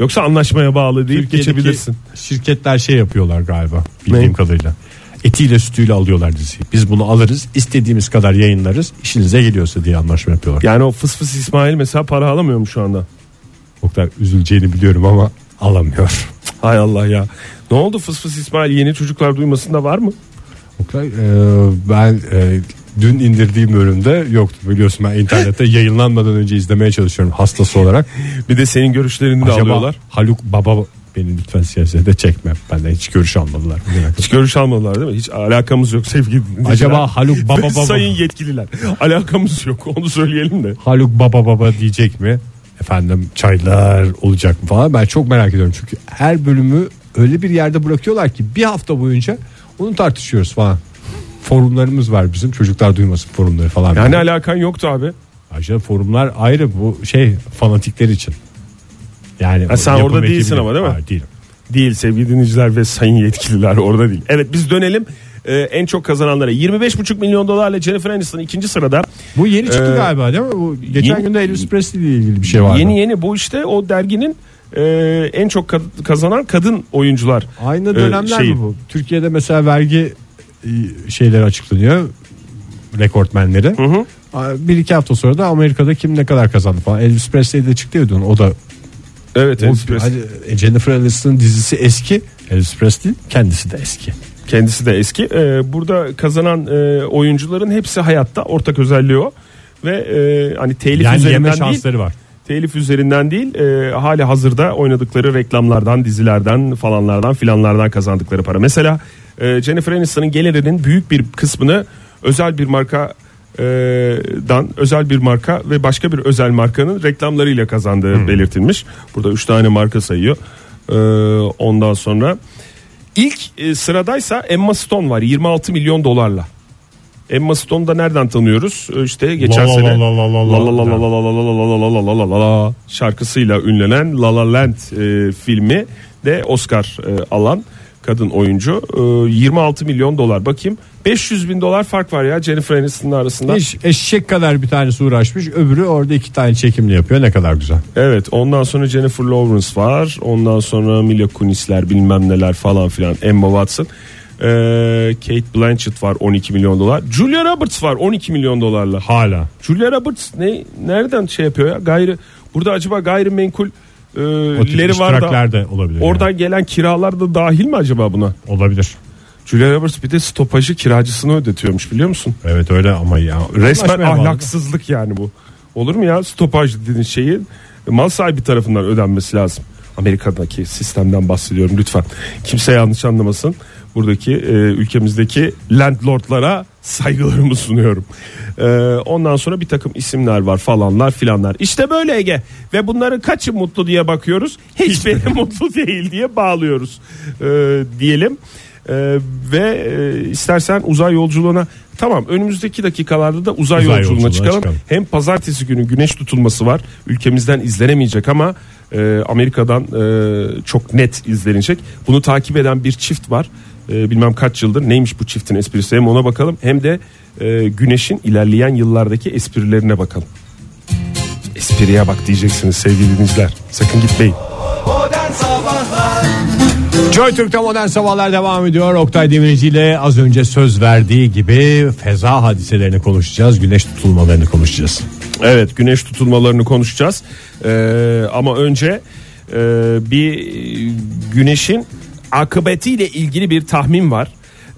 [SPEAKER 3] Yoksa anlaşmaya bağlı deyip
[SPEAKER 2] Türkiye'deki
[SPEAKER 3] geçebilirsin.
[SPEAKER 2] Şirketler şey yapıyorlar galiba bildiğim
[SPEAKER 3] Ne?
[SPEAKER 2] kadarıyla. Etiyle sütüyle alıyorlar diziyi. Biz bunu alırız istediğimiz kadar yayınlarız işinize geliyorsa diye anlaşma yapıyorlar.
[SPEAKER 3] Yani o fıs fıs İsmail mesela para alamıyor mu şu anda?
[SPEAKER 2] O kadar üzüleceğini biliyorum ama alamıyor.
[SPEAKER 3] Hay Allah ya. Ne oldu fıs fıs İsmail yeni çocuklar duymasında var mı?
[SPEAKER 2] Oktay, e, ben e, dün indirdiğim bölümde yoktu biliyorsun ben internette yayınlanmadan önce izlemeye çalışıyorum hastası olarak.
[SPEAKER 3] Bir de senin görüşlerini de
[SPEAKER 2] Acaba
[SPEAKER 3] alıyorlar.
[SPEAKER 2] Haluk Baba beni lütfen siyasete çekme. Benden hiç görüş almadılar. bugüne kadar.
[SPEAKER 3] Hiç görüş almadılar değil mi? Hiç alakamız yok sevgili dinleyiciler.
[SPEAKER 2] Acaba Haluk Baba
[SPEAKER 3] Ve
[SPEAKER 2] Baba
[SPEAKER 3] sayın yetkililer alakamız yok onu söyleyelim de.
[SPEAKER 2] Haluk Baba Baba diyecek mi? Efendim çaylar olacak mı falan. Ben çok merak ediyorum çünkü her bölümü öyle bir yerde bırakıyorlar ki bir hafta boyunca onu tartışıyoruz falan. Forumlarımız var bizim çocuklar duymasın forumları falan.
[SPEAKER 3] Yani alakan yoktu abi.
[SPEAKER 2] Ayrıca forumlar ayrı bu şey fanatikler için. Yani
[SPEAKER 3] Ha, sen
[SPEAKER 2] yapım
[SPEAKER 3] orada
[SPEAKER 2] ekibi-
[SPEAKER 3] değilsin ama değil mi?
[SPEAKER 2] Hayır, değilim.
[SPEAKER 3] Değil sevgili dinleyiciler ve sayın yetkililer orada değil. Evet biz dönelim Ee, en çok kazananlara. 25,5 milyon dolarla Jennifer Aniston ikinci sırada.
[SPEAKER 2] Bu yeni çıktı
[SPEAKER 3] Ee,
[SPEAKER 2] galiba değil mi? Bu geçen
[SPEAKER 3] yeni-
[SPEAKER 2] gün de Elvis Presley ile ilgili bir şey vardı.
[SPEAKER 3] Yeni yeni bu işte o derginin e, en çok ka- kazanan kadın oyuncular.
[SPEAKER 2] Aynı
[SPEAKER 3] e,
[SPEAKER 2] dönemler
[SPEAKER 3] şeyi.
[SPEAKER 2] mi bu? Türkiye'de mesela vergi e, şeyleri açıklanıyor. Rekortmenleri.
[SPEAKER 3] hı.
[SPEAKER 2] A- Bir iki hafta sonra da Amerika'da kim ne kadar kazandı falan. Elvis Presley de çıktı ya dün. O da
[SPEAKER 3] Evet Elvis
[SPEAKER 2] o-
[SPEAKER 3] Presley.
[SPEAKER 2] Hani, e, Jennifer Aniston'ın dizisi eski. Elvis Presley kendisi de eski.
[SPEAKER 3] Kendisi de eski. Ee, burada kazanan e, oyuncuların hepsi hayatta ortak özelliği o. Ve e, hani telif
[SPEAKER 2] Yani yeme
[SPEAKER 3] üzerinden değil,
[SPEAKER 2] şansları var.
[SPEAKER 3] telif üzerinden değil, e, hali hazırda oynadıkları reklamlardan, dizilerden falanlardan filanlardan kazandıkları para. Mesela e, Jennifer Aniston'ın gelirinin büyük bir kısmını özel bir marka e, dan özel bir marka ve başka bir özel markanın reklamlarıyla kazandığı belirtilmiş. Burada üç tane marka sayıyor. E, ondan sonra İlk e, sıradaysa Emma Stone var 26 milyon dolarla. Emma Stone'u da nereden tanıyoruz? E, İşte geçen
[SPEAKER 2] la
[SPEAKER 3] sene
[SPEAKER 2] la la la la.
[SPEAKER 3] La la la la la la la la la la la la la la şarkısıyla ünlenen La La Land e, filmi de Oscar e, alan kadın oyuncu E, 26 milyon dolar bakayım 500 bin dolar fark var ya Jennifer Aniston'la arasında.
[SPEAKER 2] Eş- eşek kadar bir tanesi uğraşmış öbürü orada iki tane çekimle yapıyor ne kadar güzel.
[SPEAKER 3] Evet ondan sonra Jennifer Lawrence var. Ondan sonra Mila Kunis'ler bilmem neler falan filan. Emma Watson. Ee, Kate Blanchett var 12 milyon dolar. Julia Roberts var 12 milyon dolarla.
[SPEAKER 2] Hala.
[SPEAKER 3] Julia Roberts ne nereden şey yapıyor ya? Gayri burada acaba gayrimenkul e,
[SPEAKER 2] O tip
[SPEAKER 3] leri var da
[SPEAKER 2] iştirakler de olabilir.
[SPEAKER 3] oradan
[SPEAKER 2] yani.
[SPEAKER 3] gelen kiralar da dahil mi acaba buna?
[SPEAKER 2] olabilir.
[SPEAKER 3] Julia Roberts bir de stopajı kiracısını ödetiyormuş biliyor musun?
[SPEAKER 2] Evet öyle ama ya
[SPEAKER 3] Resmen
[SPEAKER 2] Anlaşmaya bağlı.
[SPEAKER 3] ahlaksızlık yani bu. Olur mu ya stopaj dediğin şeyi e, mal sahibi tarafından ödenmesi lazım. Amerika'daki sistemden bahsediyorum lütfen. Kimse yanlış anlamasın. Buradaki e, ülkemizdeki landlordlara saygılarımı sunuyorum. E, ondan sonra bir takım isimler var falanlar filanlar. İşte böyle Ege. Ve bunların kaçı mutlu diye bakıyoruz. Hiçbiri mutlu değil diye bağlıyoruz e, diyelim. E, ve e, istersen uzay yolculuğuna tamam önümüzdeki dakikalarda da uzay,
[SPEAKER 2] Uzay
[SPEAKER 3] yolculuğuna,
[SPEAKER 2] yolculuğuna
[SPEAKER 3] çıkalım.
[SPEAKER 2] çıkalım.
[SPEAKER 3] Hem pazartesi günü güneş tutulması var. Ülkemizden izlenemeyecek ama e, Amerika'dan e, çok net izlenecek. Bunu takip eden bir çift var. E, bilmem kaç yıldır neymiş bu çiftin esprisi hem ona bakalım hem de e, güneşin ilerleyen yıllardaki esprilerine bakalım. Espriye bak diyeceksiniz sevgili dinleyiciler. Sakın gitmeyin.
[SPEAKER 5] Modern Sabahlar
[SPEAKER 2] Joy Türk'te modern sabahlar devam ediyor. Oktay Demirci ile az önce söz verdiği gibi feza hadiselerini konuşacağız. Güneş tutulmalarını konuşacağız.
[SPEAKER 3] Evet güneş tutulmalarını konuşacağız. Ee, ama önce e, bir e, güneşin akıbetiyle ilgili bir tahmin var.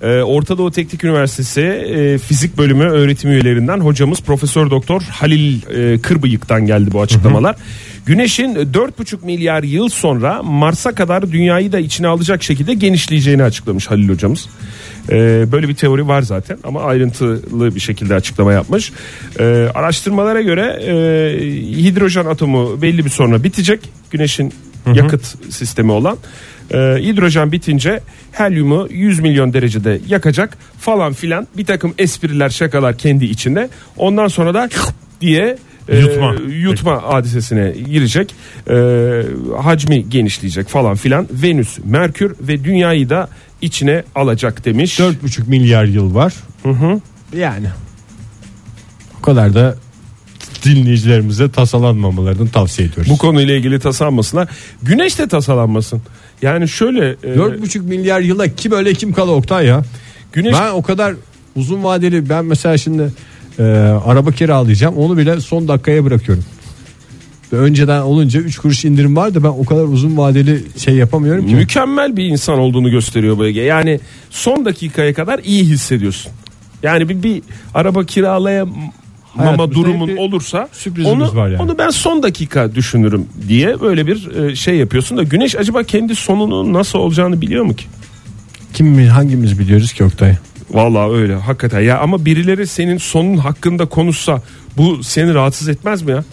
[SPEAKER 3] Ee, Orta Doğu Teknik Üniversitesi e, Fizik Bölümü öğretim üyelerinden hocamız Profesör Doktor Halil e, Kırbıyık'tan geldi bu açıklamalar. Güneşin 4,5 milyar yıl sonra Mars'a kadar dünyayı da içine alacak şekilde genişleyeceğini açıklamış Halil hocamız. Ee, böyle bir teori var zaten ama ayrıntılı bir şekilde açıklama yapmış. Ee, araştırmalara göre e, hidrojen atomu belli bir sonra bitecek. Güneşin yakıt sistemi olan. Ee, hidrojen bitince helyumu 100 milyon derecede yakacak falan filan bir takım espriler şakalar kendi içinde. Ondan sonra da diye e,
[SPEAKER 2] Yutma.
[SPEAKER 3] yutma hadisesine girecek. Ee, hacmi genişleyecek falan filan. Venüs, Merkür ve Dünya'yı da içine alacak demiş.
[SPEAKER 2] 4,5 milyar yıl var. Yani o kadar da dinleyicilerimize tasalanmamalarını tavsiye ediyoruz.
[SPEAKER 3] Bu konuyla ilgili tasalanmasınlar. Güneş de tasalanmasın. Yani şöyle
[SPEAKER 2] Ee,
[SPEAKER 3] e,
[SPEAKER 2] 4,5 milyar yıla kim öyle kim kala Oktay ya.
[SPEAKER 3] güneş
[SPEAKER 2] Ben o kadar uzun vadeli ben mesela şimdi e, araba kiralayacağım onu bile son dakikaya bırakıyorum. Ve önceden olunca 3 kuruş indirim vardı ben o kadar uzun vadeli şey yapamıyorum ki.
[SPEAKER 3] mükemmel bir insan olduğunu gösteriyor bu Ege. Yani son dakikaya kadar iyi hissediyorsun. Yani bir, bir araba kiralayamama
[SPEAKER 2] Hayatımızda
[SPEAKER 3] durumun
[SPEAKER 2] hep bir
[SPEAKER 3] olursa
[SPEAKER 2] sürprizimiz
[SPEAKER 3] onu,
[SPEAKER 2] var yani.
[SPEAKER 3] onu ben son dakika düşünürüm diye böyle bir e, şey yapıyorsun da güneş acaba kendi sonunun nasıl olacağını biliyor mu ki?
[SPEAKER 2] Kim bi- hangimiz biliyoruz ki Oktay?
[SPEAKER 3] Vallahi öyle hakikaten ya ama birileri senin sonun hakkında konuşsa bu seni rahatsız etmez mi ya?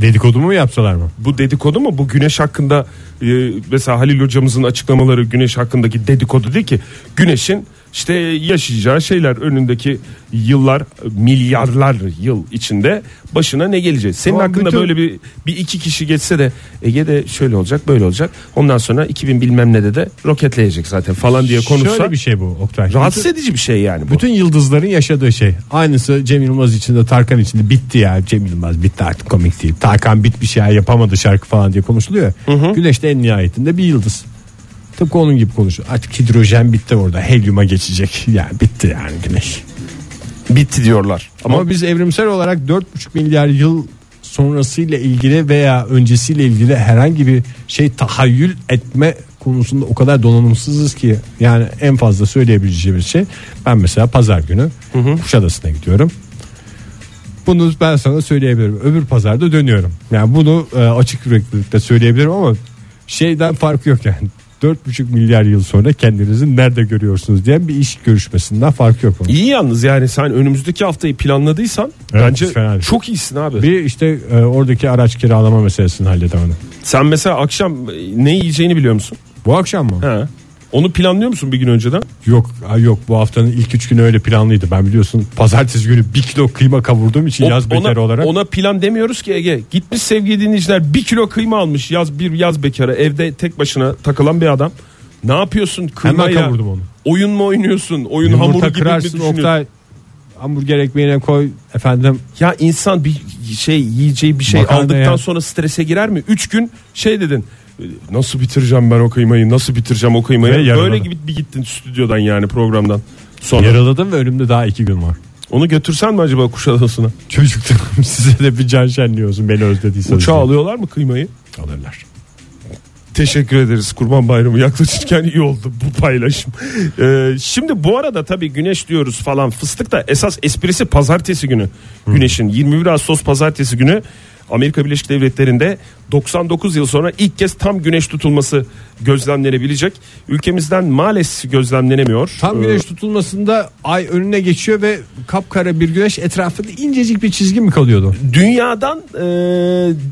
[SPEAKER 2] Dedikodu mu yapsalar mı?
[SPEAKER 3] Bu dedikodu mu? Bu güneş hakkında e, mesela Halil hocamızın açıklamaları güneş hakkındaki dedikodu değil ki. Güneşin işte yaşayacağı şeyler önündeki yıllar milyarlar yıl içinde başına ne gelecek? Senin
[SPEAKER 2] Tamam,
[SPEAKER 3] hakkında
[SPEAKER 2] bütün-
[SPEAKER 3] böyle bir, bir iki kişi geçse de Ege'de şöyle olacak böyle olacak. Ondan sonra 2000 bilmem ne de de roketleyecek zaten falan diye konuşsa
[SPEAKER 2] Şöyle bir şey bu Oktay.
[SPEAKER 3] rahatsız edici bir şey yani bu.
[SPEAKER 2] Bütün yıldızların yaşadığı şey. Aynısı Cem Yılmaz için de Tarkan için de bitti ya. Cem Yılmaz bitti artık komik değil. Tarkan bitmiş ya yapamadı şarkı falan diye konuşuluyor. ya. Güneş de en nihayetinde bir yıldız. Tıpkı onun gibi konuşuyor. Artık hidrojen bitti orada. Helyuma geçecek. Yani bitti yani güneş.
[SPEAKER 3] bitti diyorlar.
[SPEAKER 2] Ama, biz evrimsel olarak 4,5 milyar yıl sonrasıyla ilgili veya öncesiyle ilgili herhangi bir şey tahayyül etme konusunda o kadar donanımsızız ki yani en fazla söyleyebileceğimiz şey ben mesela pazar günü Kuşadası'na gidiyorum. Bunu ben sana söyleyebilirim. Öbür pazarda dönüyorum. Yani bunu e, açık yüreklilikle söyleyebilirim ama şeyden farkı yok yani. 4,5 milyar yıl sonra kendinizi nerede görüyorsunuz diye bir iş görüşmesinden farkı yok. onun.
[SPEAKER 3] İyi yalnız yani sen önümüzdeki haftayı planladıysan
[SPEAKER 2] Evet,
[SPEAKER 3] bence
[SPEAKER 2] fena değil.
[SPEAKER 3] çok iyisin abi.
[SPEAKER 2] Bir işte e, oradaki araç kiralama meselesini halledemedim.
[SPEAKER 3] Sen mesela akşam e, ne yiyeceğini biliyor musun?
[SPEAKER 2] Bu akşam mı?
[SPEAKER 3] He. Onu planlıyor musun bir gün önceden?
[SPEAKER 2] Yok ha, yok bu haftanın ilk üç günü öyle planlıydı. Ben biliyorsun pazartesi günü bir kilo kıyma kavurduğum için
[SPEAKER 3] O-
[SPEAKER 2] yaz bekar
[SPEAKER 3] ona,
[SPEAKER 2] olarak.
[SPEAKER 3] Ona plan demiyoruz ki Ege. Gitmiş sevgili dinleyiciler bir kilo kıyma almış yaz bir yaz bekara evde tek başına takılan bir adam. Ne yapıyorsun kıymayla?
[SPEAKER 2] kavurdum onu.
[SPEAKER 3] Oyun mu oynuyorsun? Oyun hamuru
[SPEAKER 2] Yumurta
[SPEAKER 3] gibi mi
[SPEAKER 2] kırarsın
[SPEAKER 3] düşünüyorsun?
[SPEAKER 2] Oktay hamburger ekmeğine koy efendim
[SPEAKER 3] Ya insan bir şey yiyeceği bir şey
[SPEAKER 2] Makarna
[SPEAKER 3] aldıktan
[SPEAKER 2] ya.
[SPEAKER 3] sonra strese girer mi? Üç gün şey dedin. e, Nasıl bitireceğim ben o kıymayı? Nasıl bitireceğim o kıymayı?
[SPEAKER 2] Ve yaraladı.
[SPEAKER 3] Böyle gibi bir gittin stüdyodan yani programdan. Sonra
[SPEAKER 2] yaraladım ve önümde daha iki gün var.
[SPEAKER 3] onu götürsen mi acaba Kuşadası'na?
[SPEAKER 2] Çocuklarım size de bir can şenliği olsun beni özlediyseniz.
[SPEAKER 3] Uçağa alıyorlar mı kıymayı?
[SPEAKER 2] alırlar.
[SPEAKER 3] Teşekkür ederiz Kurban Bayramı yaklaşırken iyi oldu bu paylaşım. Ee, şimdi bu arada tabii güneş diyoruz
[SPEAKER 2] Hmm.
[SPEAKER 3] falan fıstık da esas esprisi pazartesi günü. Güneşin 21 Ağustos pazartesi günü Amerika Birleşik Devletleri'nde 99 yıl sonra ilk kez tam güneş tutulması gözlemlenebilecek. Ülkemizden maalesef gözlemlenemiyor.
[SPEAKER 2] Tam
[SPEAKER 3] Ee,
[SPEAKER 2] güneş tutulmasında ay önüne geçiyor ve kapkara bir güneş etrafında incecik bir çizgi mi kalıyordu?
[SPEAKER 3] dünyadan e,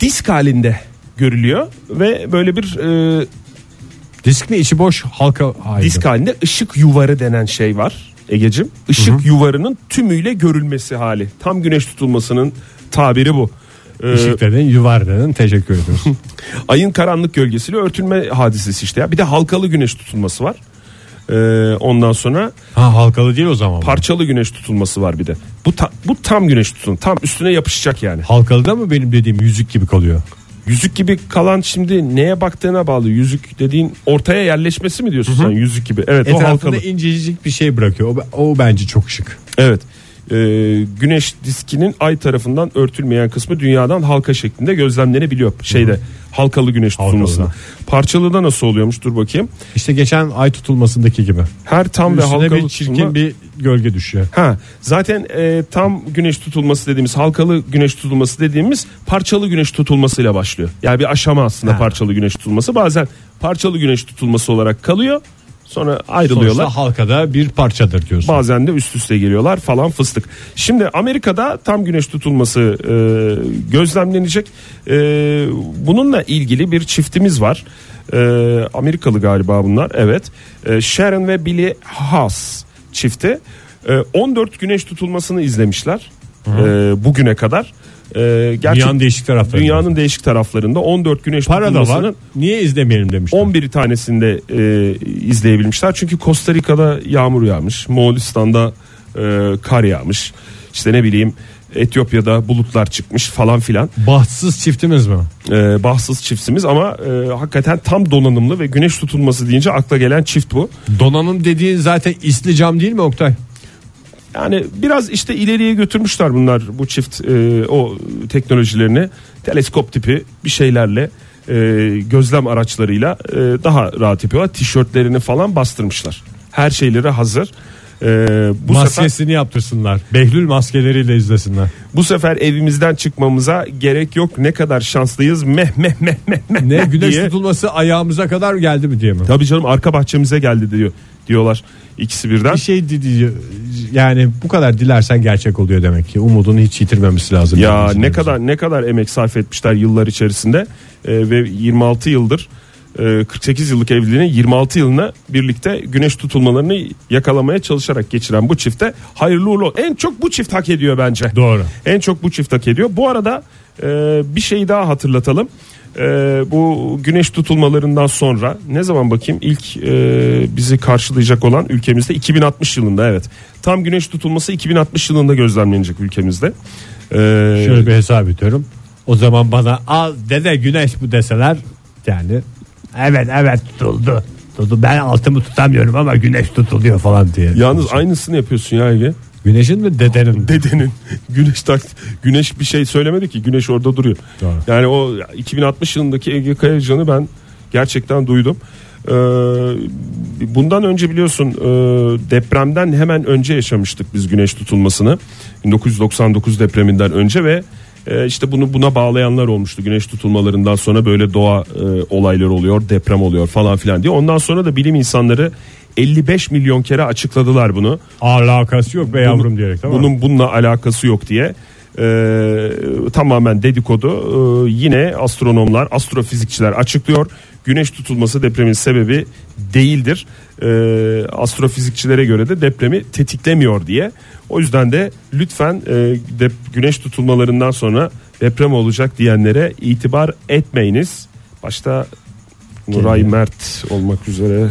[SPEAKER 3] disk halinde görülüyor ve böyle bir e,
[SPEAKER 2] Disk mi içi boş halka aydı.
[SPEAKER 3] disk halinde ışık yuvarı denen şey var Egecim. Işık yuvarının tümüyle görülmesi hali. Tam güneş tutulmasının tabiri bu. Ee,
[SPEAKER 2] Işık dedin, yuvar dedin. Teşekkür ediyoruz.
[SPEAKER 3] ayın karanlık gölgesiyle örtülme hadisesi işte ya. Bir de halkalı güneş tutulması var. Ee, ondan sonra
[SPEAKER 2] ha halkalı değil o zaman.
[SPEAKER 3] parçalı güneş tutulması var bir de. Bu ta- bu tam güneş tutun. Tam üstüne yapışacak yani.
[SPEAKER 2] halkalı da mı benim dediğim yüzük gibi kalıyor?
[SPEAKER 3] Yüzük gibi kalan şimdi neye baktığına bağlı. Yüzük dediğin ortaya yerleşmesi mi diyorsun sen yüzük gibi? Evet o
[SPEAKER 2] Etrafında
[SPEAKER 3] halkalı.
[SPEAKER 2] incecik bir şey bırakıyor. O, o bence çok şık.
[SPEAKER 3] Evet. Ee, güneş diskinin ay tarafından örtülmeyen kısmı dünyadan halka şeklinde gözlemlenebiliyor. Şeyde halkalı güneş
[SPEAKER 2] Halkalı
[SPEAKER 3] tutulmasında.
[SPEAKER 2] da.
[SPEAKER 3] Parçalı da nasıl oluyormuş dur bakayım.
[SPEAKER 2] İşte geçen ay tutulmasındaki gibi.
[SPEAKER 3] Her tam ve
[SPEAKER 2] Üstüne
[SPEAKER 3] halkalı
[SPEAKER 2] bir çirkin
[SPEAKER 3] tutulma-
[SPEAKER 2] bir gölge düşüyor.
[SPEAKER 3] Ha, zaten e, tam güneş tutulması dediğimiz halkalı güneş tutulması dediğimiz parçalı güneş tutulmasıyla başlıyor. Yani bir aşama aslında parçalı güneş tutulması. Bazen parçalı güneş tutulması olarak kalıyor. Sonra ayrılıyorlar.
[SPEAKER 2] Sonuçta halkada bir parçadır diyorsun.
[SPEAKER 3] Bazen de üst üste geliyorlar falan fıstık. Şimdi Amerika'da tam güneş tutulması e, gözlemlenecek. E, bununla ilgili bir çiftimiz var. E, Amerikalı galiba bunlar. Evet. E, Sharon ve Billy Haas çifti. E, 14 güneş tutulmasını izlemişler. E, bugüne kadar. E, gerçi
[SPEAKER 2] Dünyanın değişik tarafları.
[SPEAKER 3] dünyanın değişik taraflarında 14 güneş
[SPEAKER 2] para da
[SPEAKER 3] tutulmasının
[SPEAKER 2] var. Niye izlemeyelim demişler.
[SPEAKER 3] 11 tanesinde e, izleyebilmişler. Çünkü Costa Rica'da yağmur yağmış. Moğolistan'da e, kar yağmış. İşte ne bileyim Etiyopya'da bulutlar çıkmış falan filan.
[SPEAKER 2] Bahtsız çiftimiz mi?
[SPEAKER 3] E, bahtsız çiftimiz ama e, hakikaten tam donanımlı ve güneş tutulması deyince akla gelen çift bu.
[SPEAKER 2] Donanım dediğin zaten isli cam değil mi Oktay?
[SPEAKER 3] Yani biraz işte ileriye götürmüşler bunlar bu çift e, o teknolojilerini. Teleskop tipi bir şeylerle e, gözlem araçlarıyla e, daha rahat yapıyorlar. Tişörtlerini falan bastırmışlar. Her şeyleri hazır. E, bu sefer
[SPEAKER 2] Maskesini yaptırsınlar. Behlül maskeleriyle izlesinler.
[SPEAKER 3] bu sefer evimizden çıkmamıza gerek yok. Ne kadar şanslıyız. Meh meh meh meh meh.
[SPEAKER 2] Ne güneş
[SPEAKER 3] diye.
[SPEAKER 2] tutulması ayağımıza kadar geldi mi diye mi?
[SPEAKER 3] Tabii canım arka bahçemize geldi diyor diyorlar ikisi birden.
[SPEAKER 2] Bir şey di- di- yani bu kadar dilersen gerçek oluyor demek ki. Umudunu hiç yitirmemesi lazım.
[SPEAKER 3] Ya
[SPEAKER 2] Yani
[SPEAKER 3] ne kadar ne kadar emek sarf etmişler yıllar içerisinde Ee, ve 26 yıldır e, 48 yıllık evliliğinin 26 yılını birlikte güneş tutulmalarını yakalamaya çalışarak geçiren bu çifte hayırlı uğurlu. En çok bu çift hak ediyor bence.
[SPEAKER 2] Doğru.
[SPEAKER 3] En çok bu çift hak ediyor. Bu arada e, bir şey daha hatırlatalım. E, bu güneş tutulmalarından sonra ne zaman bakayım ilk e, bizi karşılayacak olan ülkemizde 2060 yılında evet. Tam güneş tutulması 2060 yılında gözlemlenecek ülkemizde. E,
[SPEAKER 2] Şöyle bir hesap ediyorum. O zaman bana al dede güneş bu deseler yani evet evet tutuldu. Tutuldu. Ben altımı tutamıyorum ama güneş tutuluyor falan diye. Şey.
[SPEAKER 3] Yalnız aynısını yapıyorsun ya Ege.
[SPEAKER 2] Güneşin mi dedenin? mi?
[SPEAKER 3] Dedenin güneş tak güneş bir şey söylemedi ki güneş orada duruyor.
[SPEAKER 2] Doğru.
[SPEAKER 3] Yani o 2060 yılındaki E Ege Kayacan'ı ben gerçekten duydum. Ee, bundan önce biliyorsun e, depremden hemen önce yaşamıştık biz güneş tutulmasını. 1999 depreminden önce ve e, işte bunu buna bağlayanlar olmuştu. Güneş tutulmalarından sonra böyle doğa e, olayları oluyor, deprem oluyor falan filan diye. Ondan sonra da bilim insanları 55 milyon kere açıkladılar bunu.
[SPEAKER 2] Alakası yok be yavrum
[SPEAKER 3] Bunun-
[SPEAKER 2] diyerek tamam mı?
[SPEAKER 3] Bunun bununla alakası yok diye. Ee, tamamen dedikodu Ee, yine astronomlar astrofizikçiler açıklıyor güneş tutulması depremin sebebi değildir Ee, astrofizikçilere göre de depremi tetiklemiyor diye o yüzden de lütfen e, dep- güneş tutulmalarından sonra deprem olacak diyenlere itibar etmeyiniz başta Nuray Mert olmak üzere